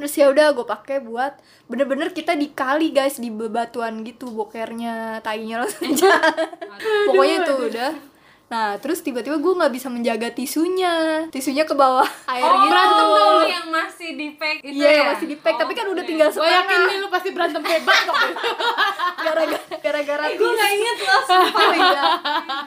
[SPEAKER 1] terus ya udah gue pakai buat bener-bener kita dikali guys di bebatuan gitu bokernya tainya langsung jalan pokoknya itu udah nah terus tiba-tiba gue nggak bisa menjaga tisunya tisunya ke bawah air
[SPEAKER 3] Oh,
[SPEAKER 1] gitu
[SPEAKER 3] berantem dong yang masih di pack itu
[SPEAKER 1] iya
[SPEAKER 3] ya? Oh, iya.
[SPEAKER 1] yang masih di pack tapi kan udah tinggal
[SPEAKER 2] Gue yakin
[SPEAKER 1] setengah
[SPEAKER 2] nih lu pasti berantem hebat kok.
[SPEAKER 1] gara-gara gara-gara
[SPEAKER 3] Gue
[SPEAKER 1] tisu
[SPEAKER 3] gak inget loh, sumpah
[SPEAKER 1] Oh iya.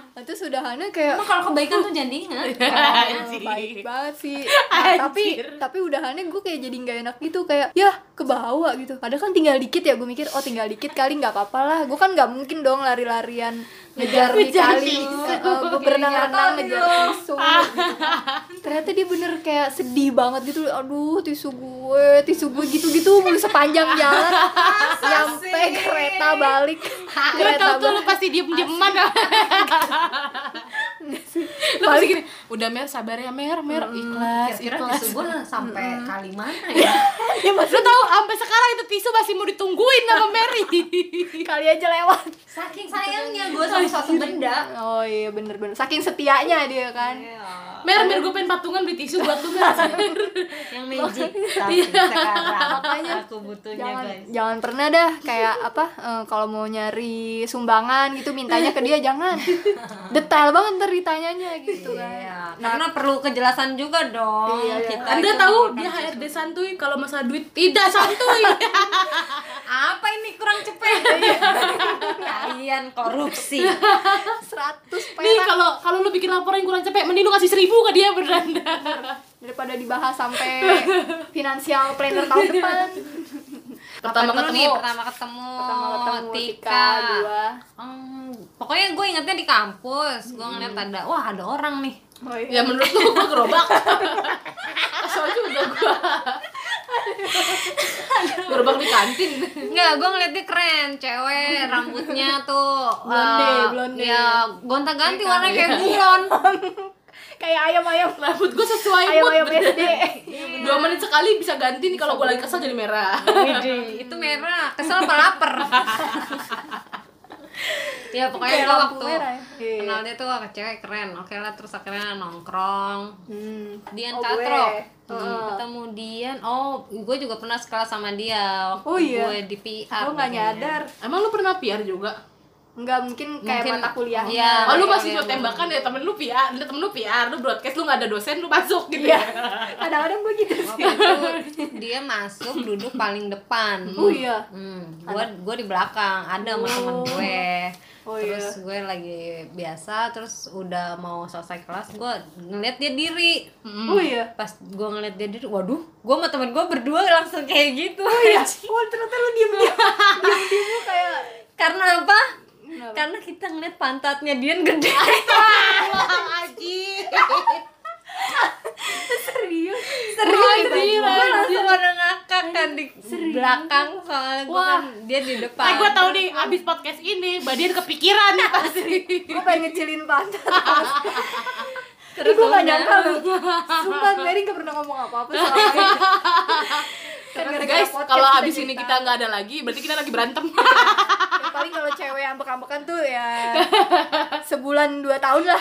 [SPEAKER 1] Nah, terus udahannya kayak
[SPEAKER 3] Emang kalau kebaikan tuh jangan diinget
[SPEAKER 2] iya,
[SPEAKER 1] "Ah, baik banget sih Nah, tapi tapi udahannya gue kayak jadi nggak enak gitu kayak ya kebawa gitu padahal kan tinggal dikit ya gue mikir oh tinggal dikit kali nggak apa-apa lah gue kan nggak mungkin dong lari-larian ngejar di
[SPEAKER 2] Ngejar
[SPEAKER 1] kali
[SPEAKER 2] tisu.
[SPEAKER 1] Eh, eh, gue berenang-renang ngejar tisu gitu. ternyata dia bener kayak sedih banget gitu aduh tisu gue tisu gue gitu-gitu mulu sepanjang jalan nyampe
[SPEAKER 3] sih?
[SPEAKER 1] kereta balik
[SPEAKER 2] Gue tau
[SPEAKER 1] kereta
[SPEAKER 2] tuh
[SPEAKER 1] balik
[SPEAKER 2] lu pasti diem-dieman. Lu pasti gini, udah Mer sabar ya Mer, Mer ikhlas,
[SPEAKER 3] Kira-kira
[SPEAKER 2] ikhlas.
[SPEAKER 3] tisu gue sampai kali mana ya?
[SPEAKER 1] ya maksud
[SPEAKER 2] Lu tau sampai sekarang itu tisu masih mau ditungguin sama Mary.
[SPEAKER 1] kali aja lewat
[SPEAKER 3] Saking sayangnya gue sama suatu benda
[SPEAKER 1] oh iya bener-bener saking setianya dia kan
[SPEAKER 3] Iya.
[SPEAKER 2] Mer, Mer gue pengen patungan beli tisu buat lu Mer.
[SPEAKER 3] Yang magic Tapi sekarang aku butuhnya
[SPEAKER 1] jangan
[SPEAKER 3] Iya, guys
[SPEAKER 1] jangan pernah dah kayak apa eh, kalau mau nyari sumbangan gitu mintanya ke dia jangan detail banget ntar ditanyanya gitu kan
[SPEAKER 3] Iya, karena perlu kejelasan juga dong
[SPEAKER 1] Iya, iya.
[SPEAKER 3] kita
[SPEAKER 2] Anda
[SPEAKER 3] itu
[SPEAKER 2] tahu
[SPEAKER 3] menggunakan
[SPEAKER 2] dia HRD santuy kalau masalah duit tidak santuy.
[SPEAKER 3] apa ini kurang cepet Iya. kalian korupsi
[SPEAKER 1] 100
[SPEAKER 2] Nih
[SPEAKER 1] Kan perak
[SPEAKER 2] kalau kalau lu bikin laporan kurang cepet, mending lu kasih seribu ke dia beneran.
[SPEAKER 1] daripada dibahas sampai finansial planner tahun depan
[SPEAKER 2] Pertama
[SPEAKER 3] Apa dulu nih?
[SPEAKER 2] ketemu.
[SPEAKER 3] pertama ketemu
[SPEAKER 1] pertama ketemu
[SPEAKER 3] Tika,
[SPEAKER 1] Oh, Tika dua
[SPEAKER 3] Hmm, pokoknya gue ingetnya di kampus gue ngeliat ada wah ada orang nih
[SPEAKER 1] oh, iya.
[SPEAKER 2] Ya menurut lu gua gerobak. Kesel juga gua. gerobak di kantin.
[SPEAKER 3] Enggak, gue ngeliat dia keren, cewek, rambutnya tuh
[SPEAKER 1] Blonde,
[SPEAKER 3] eh,
[SPEAKER 1] blonde.
[SPEAKER 3] Ya, gonta-ganti warnanya kayak buron
[SPEAKER 1] kayak ayam ayam
[SPEAKER 2] Rambut Iya, gua sesuai
[SPEAKER 1] ayam
[SPEAKER 2] mood.
[SPEAKER 1] ayam
[SPEAKER 2] beneran.
[SPEAKER 1] SD
[SPEAKER 2] Dua menit sekali bisa ganti nih kalau gua lagi kesel jadi merah.
[SPEAKER 3] Itu merah, kesel apa lapar ya pokoknya
[SPEAKER 1] Kayak
[SPEAKER 3] gue
[SPEAKER 1] lampu
[SPEAKER 3] waktu
[SPEAKER 1] merah ya. Iya.
[SPEAKER 3] kenal dia tuh wah cewek keren oke lah terus akhirnya nongkrong
[SPEAKER 1] Hmm.
[SPEAKER 3] Dian
[SPEAKER 1] Oh, gue. Hmm.
[SPEAKER 3] Katro
[SPEAKER 1] Heeh.
[SPEAKER 3] ketemu Dian oh gue juga pernah sekelas sama dia waktu
[SPEAKER 1] Oh, iya.
[SPEAKER 3] gue di PR
[SPEAKER 1] Gue nggak
[SPEAKER 3] kayaknya.
[SPEAKER 1] nyadar.
[SPEAKER 2] Emang lu pernah PR juga?
[SPEAKER 1] Nggak mungkin kayak
[SPEAKER 3] Mungkin-
[SPEAKER 1] mata kuliahnya.
[SPEAKER 3] iya.
[SPEAKER 2] Oh, lu
[SPEAKER 3] Iya,
[SPEAKER 2] masih
[SPEAKER 3] iya,
[SPEAKER 2] suka tembakan ya temen lu PR, lu temen lu PR, lu broadcast lu nggak ada dosen lu masuk gitu
[SPEAKER 1] Iya.
[SPEAKER 2] ya.
[SPEAKER 1] Kadang-kadang gue gitu sih.
[SPEAKER 3] waktu itu dia masuk duduk paling depan
[SPEAKER 1] Oh iya.
[SPEAKER 3] hmm, gue gue di belakang ada sama temen gue
[SPEAKER 1] Oh,
[SPEAKER 3] terus gue lagi biasa terus udah mau selesai kelas gue ngeliat dia diri
[SPEAKER 1] Oh iya.
[SPEAKER 3] pas gue ngeliat dia diri waduh gue sama temen gue berdua langsung kayak gitu
[SPEAKER 1] Iya. Wah ternyata lu diem diem diem diem lu kayak
[SPEAKER 3] karena apa karena kita ngeliat pantatnya Dian gede
[SPEAKER 2] Aji.
[SPEAKER 1] serius.
[SPEAKER 3] serius gue
[SPEAKER 2] anjir,
[SPEAKER 3] langsung pada ngakak kan di belakang soalnya gue
[SPEAKER 2] Wah.
[SPEAKER 3] kan dia di depan
[SPEAKER 2] Eh gue tau nih, abis podcast ini, Mbak Dian kepikiran nih pasti
[SPEAKER 1] Gue pengen ngecilin pantat. Terus
[SPEAKER 3] Terus
[SPEAKER 1] gue gak
[SPEAKER 3] udah.
[SPEAKER 1] nyangka loh. Sumpah Mary gak pernah ngomong apa-apa soal ini. Kan
[SPEAKER 2] Terus
[SPEAKER 1] gara-gara
[SPEAKER 2] guys,
[SPEAKER 1] podcast
[SPEAKER 2] kalau
[SPEAKER 1] kita
[SPEAKER 2] abis ini
[SPEAKER 1] cerita.
[SPEAKER 2] kita nggak ada lagi, berarti kita lagi berantem
[SPEAKER 1] Ya, paling kalau cewek ambek-ambekan tuh ya sebulan dua tahun lah.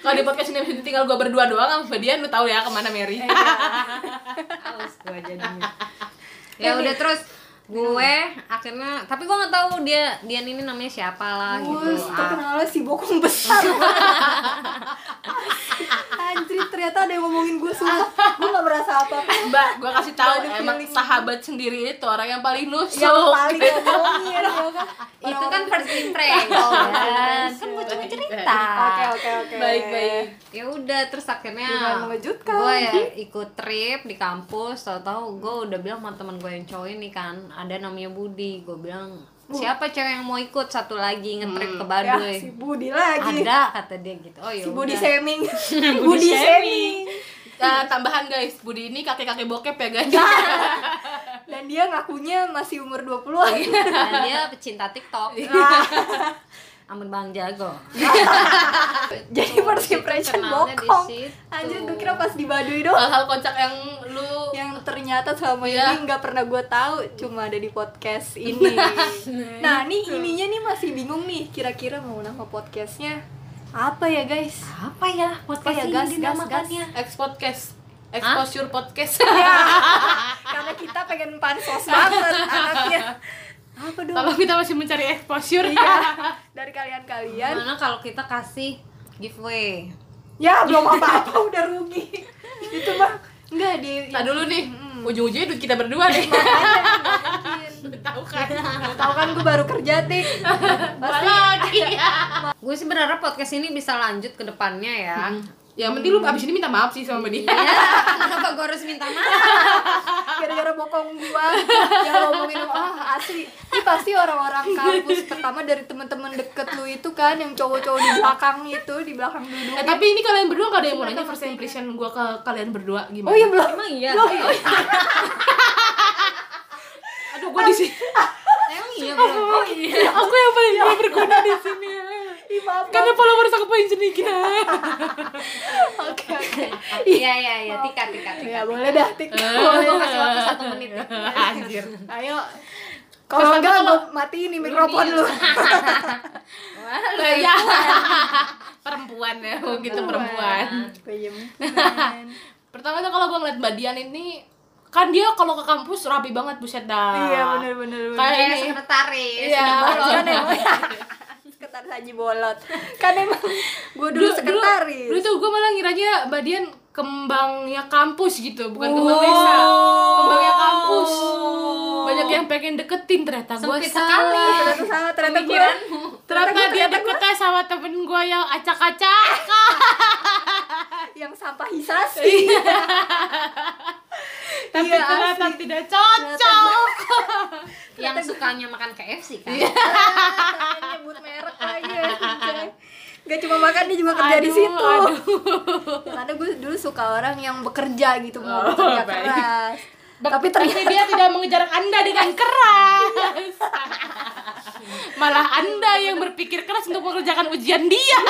[SPEAKER 2] Kalau di podcast ini abis itu tinggal gue berdua doang sama Mbak Dian, lu tau ya kemana Mary
[SPEAKER 1] Eh,
[SPEAKER 3] Aus gue jadinya ya udah terus gue akhirnya tapi gue nggak tahu dia Dian ini namanya siapa lah gitu
[SPEAKER 1] Wus,
[SPEAKER 3] Ah,
[SPEAKER 1] terkenalnya si bokong besar. Anjir, ternyata ada yang ngomongin gue sumpah. Gue gak merasa apa-apa.
[SPEAKER 2] Mbak, gue kasih tahu
[SPEAKER 1] Nggak ada
[SPEAKER 2] emang
[SPEAKER 1] feeling.
[SPEAKER 2] sahabat sendiri itu orang yang paling lusuh
[SPEAKER 1] Yang paling ngomongin ya kan.
[SPEAKER 3] Ya itu kan first
[SPEAKER 1] Oh,
[SPEAKER 3] impression kan gue cuma cerita
[SPEAKER 1] Oke, oke, oke.
[SPEAKER 2] Baik-baik
[SPEAKER 3] ya udah terus akhirnya
[SPEAKER 1] Dengan mengejutkan.
[SPEAKER 3] gue ya ikut trip di kampus tahu-tahu gue udah bilang sama temen gue yang cowok ini kan ada namanya Budi gue bilang siapa cewek yang mau ikut satu lagi ngetrip ke
[SPEAKER 1] Ya,
[SPEAKER 3] Baduy
[SPEAKER 1] si Budi lagi.
[SPEAKER 3] ada kata dia gitu oh ya
[SPEAKER 1] Si Budi
[SPEAKER 3] udah.
[SPEAKER 1] shaming. Budi shaming.
[SPEAKER 2] Nah, tambahan guys, Budi ini kakek-kakek bokep ya guys
[SPEAKER 1] Dan dia ngakunya masih umur 20
[SPEAKER 3] dan dia pecinta TikTok
[SPEAKER 1] Nah,
[SPEAKER 3] amin bang jago
[SPEAKER 1] Jadi first impression
[SPEAKER 3] Kenalnya di
[SPEAKER 1] bokong.
[SPEAKER 3] situ.
[SPEAKER 1] Anjir, gue kira pas di Baduy doang.
[SPEAKER 2] Hal-hal kocak yang lu
[SPEAKER 1] yang ternyata selama
[SPEAKER 2] Iya.
[SPEAKER 1] ini nggak pernah gue tahu cuma ada di podcast ini nah nih ininya nih masih bingung nih kira-kira mau nama podcastnya apa ya guys
[SPEAKER 3] apa ya
[SPEAKER 1] apa ya
[SPEAKER 3] podcast
[SPEAKER 1] gas
[SPEAKER 3] ini
[SPEAKER 1] gas gas
[SPEAKER 3] dinamakannya
[SPEAKER 2] ex-podcast Exposure podcast
[SPEAKER 1] Ya, karena kita pengen pansos banget anaknya apa dong
[SPEAKER 2] Kalau kita masih mencari exposure
[SPEAKER 1] Iya, dari kalian-kalian
[SPEAKER 3] gimana kalau kita kasih giveaway
[SPEAKER 1] ya belum apa-apa udah rugi itu mah nggak di
[SPEAKER 2] Nah dulu nih, ujung-ujungnya duit kita berdua nih
[SPEAKER 1] makanya nggak mungkin
[SPEAKER 2] Tahu kan?
[SPEAKER 1] tahu kan gue baru kerja tik
[SPEAKER 2] Dua
[SPEAKER 1] pasti
[SPEAKER 2] lagi
[SPEAKER 3] gue sih berharap podcast ini bisa lanjut ke depannya ya
[SPEAKER 2] Yang penting lu abis ini minta maaf sih sama Mbak Dian
[SPEAKER 3] ya kenapa gue harus minta maaf
[SPEAKER 1] gara-gara bokong gua yang ngomongin lu, ah asli ini pasti orang-orang kampus pertama dari teman-teman deket lu itu kan yang cowok-cowok di belakang itu di belakang duduk
[SPEAKER 2] Eh tapi ini kalian berdua gak ada yang mau nanya first impression gue ke kalian berdua gimana?
[SPEAKER 1] oh iya belum
[SPEAKER 3] Emang iya?
[SPEAKER 1] belum iya.
[SPEAKER 2] Aduh gue di sini.
[SPEAKER 3] Emang iya bro?
[SPEAKER 2] aku yang paling gak berguna di sini.
[SPEAKER 1] Ih, maaf
[SPEAKER 2] Karena followers aku paling sedikit.
[SPEAKER 1] oke oke
[SPEAKER 3] Iya iya iya, tika tika tika.
[SPEAKER 1] ya boleh dah tik boleh
[SPEAKER 3] Gue
[SPEAKER 1] dah.
[SPEAKER 3] kasih waktu satu menit.
[SPEAKER 2] Anjir.
[SPEAKER 1] ayo kalau enggak gua matiin nih mikrofon lu iya.
[SPEAKER 2] Ya. perempuan ya, gitu perempuan.
[SPEAKER 1] Bayem.
[SPEAKER 2] Pertama tuh kalau gue ngeliat Mbak Dian ini kan dia kalau ke kampus rapi banget buset dah.
[SPEAKER 1] iya bener-bener bener.
[SPEAKER 2] Kayak
[SPEAKER 3] Kayak
[SPEAKER 2] ini.
[SPEAKER 3] sekretaris.
[SPEAKER 2] Iya.
[SPEAKER 1] kan emang sekretaris haji bolot kan emang gua dulu sekretaris
[SPEAKER 2] Dulu tuh gue malah ngiranya Mbak Dian kembangnya kampus gitu, bukan kembang
[SPEAKER 1] Oh.
[SPEAKER 2] desa. Kembangnya kampus. Banyak yang pengen deketin ternyata gue
[SPEAKER 3] Sempit sekali.
[SPEAKER 1] Ah, ternyata salah ternyata gue
[SPEAKER 3] Pemikiranmu.
[SPEAKER 2] Ternyata dia deketnya sama temen gue yang acak-acak
[SPEAKER 1] yang sampah Iya, hisasi
[SPEAKER 2] Iya. Tapi
[SPEAKER 1] Iya,
[SPEAKER 2] ternyata
[SPEAKER 1] asli.
[SPEAKER 2] tidak cocok
[SPEAKER 3] Yang sukanya makan KFC kan?
[SPEAKER 1] Ah, nyebut merek lagi anjay. Gak cuma makan dia juga kerja di
[SPEAKER 2] Aduh,
[SPEAKER 1] situ.
[SPEAKER 2] aduh.
[SPEAKER 1] Karena gue dulu suka orang yang bekerja gitu mau
[SPEAKER 2] Oh,
[SPEAKER 1] bekerja
[SPEAKER 2] baik.
[SPEAKER 1] keras. Tapi
[SPEAKER 2] Tapi dia tidak mengejar anda dengan keras Malah anda yang berpikir keras untuk mengerjakan ujian dia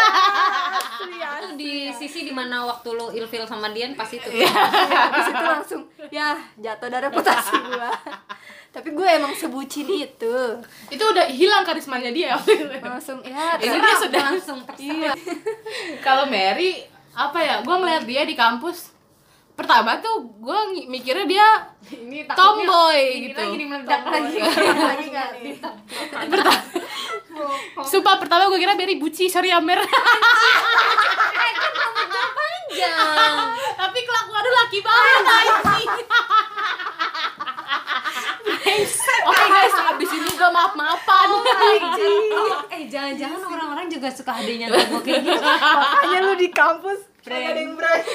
[SPEAKER 1] ternyata
[SPEAKER 3] Itu di sisi dimana waktu lo ilfil sama Dian pas itu.
[SPEAKER 1] di situ langsung ya jatuh dari reputasi gue. tapi gue emang sebucin itu
[SPEAKER 2] itu udah hilang karismanya dia
[SPEAKER 1] langsung ya
[SPEAKER 2] Ini
[SPEAKER 1] terserah.
[SPEAKER 2] dia sudah-
[SPEAKER 3] langsung
[SPEAKER 2] Iya.
[SPEAKER 3] terserah.
[SPEAKER 2] kalau Mary apa ya gue ngeliat dia di kampus pertama tuh gue mikirnya dia
[SPEAKER 3] Ini takutnya
[SPEAKER 2] tomboy
[SPEAKER 3] ini
[SPEAKER 2] gitu
[SPEAKER 3] lagi nih meledak lagi.
[SPEAKER 2] Iya.
[SPEAKER 1] lagi nggak nih?
[SPEAKER 2] Sumpah pertama gue kira Mary buci, sorry ya Mer Iya.
[SPEAKER 3] Jangan.
[SPEAKER 2] Tapi kelakuan lu laki banget anjing Oke guys, abis ini gue maaf-maafan
[SPEAKER 3] eh jangan-jangan orang-orang juga suka adanya gue kayak gitu.
[SPEAKER 1] makanya lu di kampus kayak ada yang berani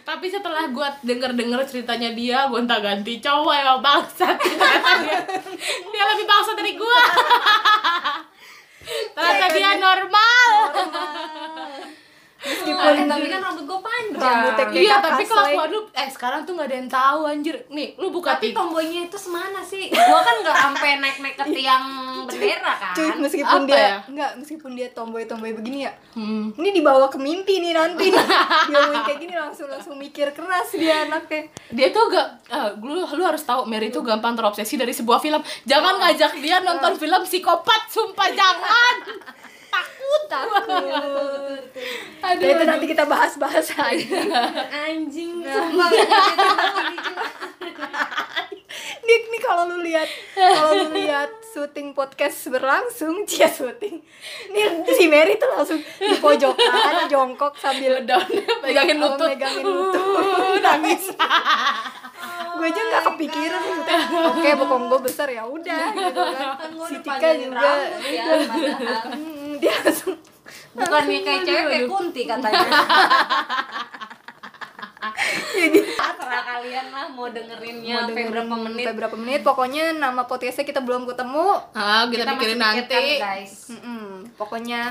[SPEAKER 2] Tapi setelah gue denger-denger ceritanya dia, gue entah ganti cowok emang bangsat Ternyata dia, dia lebih bangsat dari gue Ternyata dia normal
[SPEAKER 1] meskipun
[SPEAKER 3] Eh, tapi kan rambut gue panjang.
[SPEAKER 1] Rambutnya kayak-
[SPEAKER 2] Iya,
[SPEAKER 1] kakak
[SPEAKER 2] tapi
[SPEAKER 1] Slay.
[SPEAKER 2] kelakuan lu, eh sekarang tuh gak ada yang tahu anjir Nih, lu buka
[SPEAKER 3] Tapi
[SPEAKER 2] tik-
[SPEAKER 3] tomboynya itu semana sih? Gua kan nggak sampai naik-naik ke tiang bendera kan.
[SPEAKER 1] cuy meskipun
[SPEAKER 2] Apa
[SPEAKER 1] dia
[SPEAKER 2] ya?
[SPEAKER 1] nggak meskipun dia tomboy tomboy begini ya
[SPEAKER 2] Hmm.
[SPEAKER 1] ini dibawa ke mimpi nih nanti nih ngomongin kayak gini langsung langsung mikir keras dia anaknya
[SPEAKER 2] dia tuh gak eh, lu lu harus tahu Mary tuh gampang terobsesi dari sebuah film jangan ngajak dia nonton film psikopat sumpah jangan
[SPEAKER 1] takut
[SPEAKER 2] aduh Iya.
[SPEAKER 1] Ya, itu nanti kita bahas-bahas lagi
[SPEAKER 3] Anjing,
[SPEAKER 1] Nah.
[SPEAKER 3] sumpah gua jadi tomboy juga.
[SPEAKER 1] Dik nih kalau lu lihat kalau lu lihat syuting podcast berlangsung dia syuting nih si Mary tuh langsung di pojokan jongkok sambil
[SPEAKER 2] down pegangin
[SPEAKER 1] Sama
[SPEAKER 2] lutut
[SPEAKER 1] Oh, megangin lutut nangis gue aja
[SPEAKER 2] Oh
[SPEAKER 1] nggak kepikiran maksudnya, oke bokong gue besar ya udah gitu kan
[SPEAKER 3] Kan gua
[SPEAKER 1] si
[SPEAKER 3] udah
[SPEAKER 1] Tika
[SPEAKER 3] panjangin
[SPEAKER 1] juga Iya.
[SPEAKER 3] rambut ya, padahal.
[SPEAKER 1] mm, dia langsung
[SPEAKER 3] Bukannya kayak cewek kayak kunti katanya.
[SPEAKER 1] jadi
[SPEAKER 3] Terserah kalian lah mau
[SPEAKER 1] mau
[SPEAKER 3] dengerinnya Iya, sampai
[SPEAKER 1] dengerin
[SPEAKER 3] berapa menit.
[SPEAKER 1] sampai berapa menit pokoknya nama podcastnya kita belum ketemu
[SPEAKER 2] ah kita, pikirin
[SPEAKER 3] masih
[SPEAKER 2] nanti
[SPEAKER 3] pikirkan, guys.
[SPEAKER 1] Mm-mm, pokoknya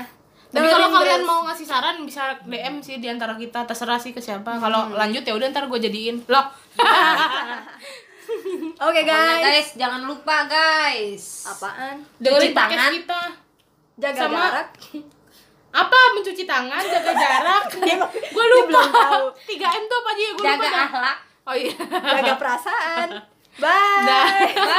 [SPEAKER 2] tapi kalau
[SPEAKER 1] dengerin
[SPEAKER 2] kalian
[SPEAKER 1] terus.
[SPEAKER 2] mau ngasih saran bisa DM sih di antara kita terserah sih ke siapa kalau lanjut ya udah ntar gue jadiin loh
[SPEAKER 1] oke
[SPEAKER 3] Pokoknya
[SPEAKER 1] guys
[SPEAKER 3] guys, jangan lupa guys.
[SPEAKER 1] apaan
[SPEAKER 2] dengerin
[SPEAKER 3] Cuci
[SPEAKER 2] podcast
[SPEAKER 3] tangan.
[SPEAKER 2] kita
[SPEAKER 1] jaga
[SPEAKER 2] Sama-
[SPEAKER 1] jarak
[SPEAKER 2] apa mencuci tangan jaga jarak gue lupa
[SPEAKER 1] belum tahu.
[SPEAKER 2] 3 m tuh apa aja ya gue lupa
[SPEAKER 3] Jaga
[SPEAKER 2] dah.
[SPEAKER 3] akhlak.
[SPEAKER 2] oh iya
[SPEAKER 1] jaga perasaan bye
[SPEAKER 2] Dah.
[SPEAKER 3] Bye.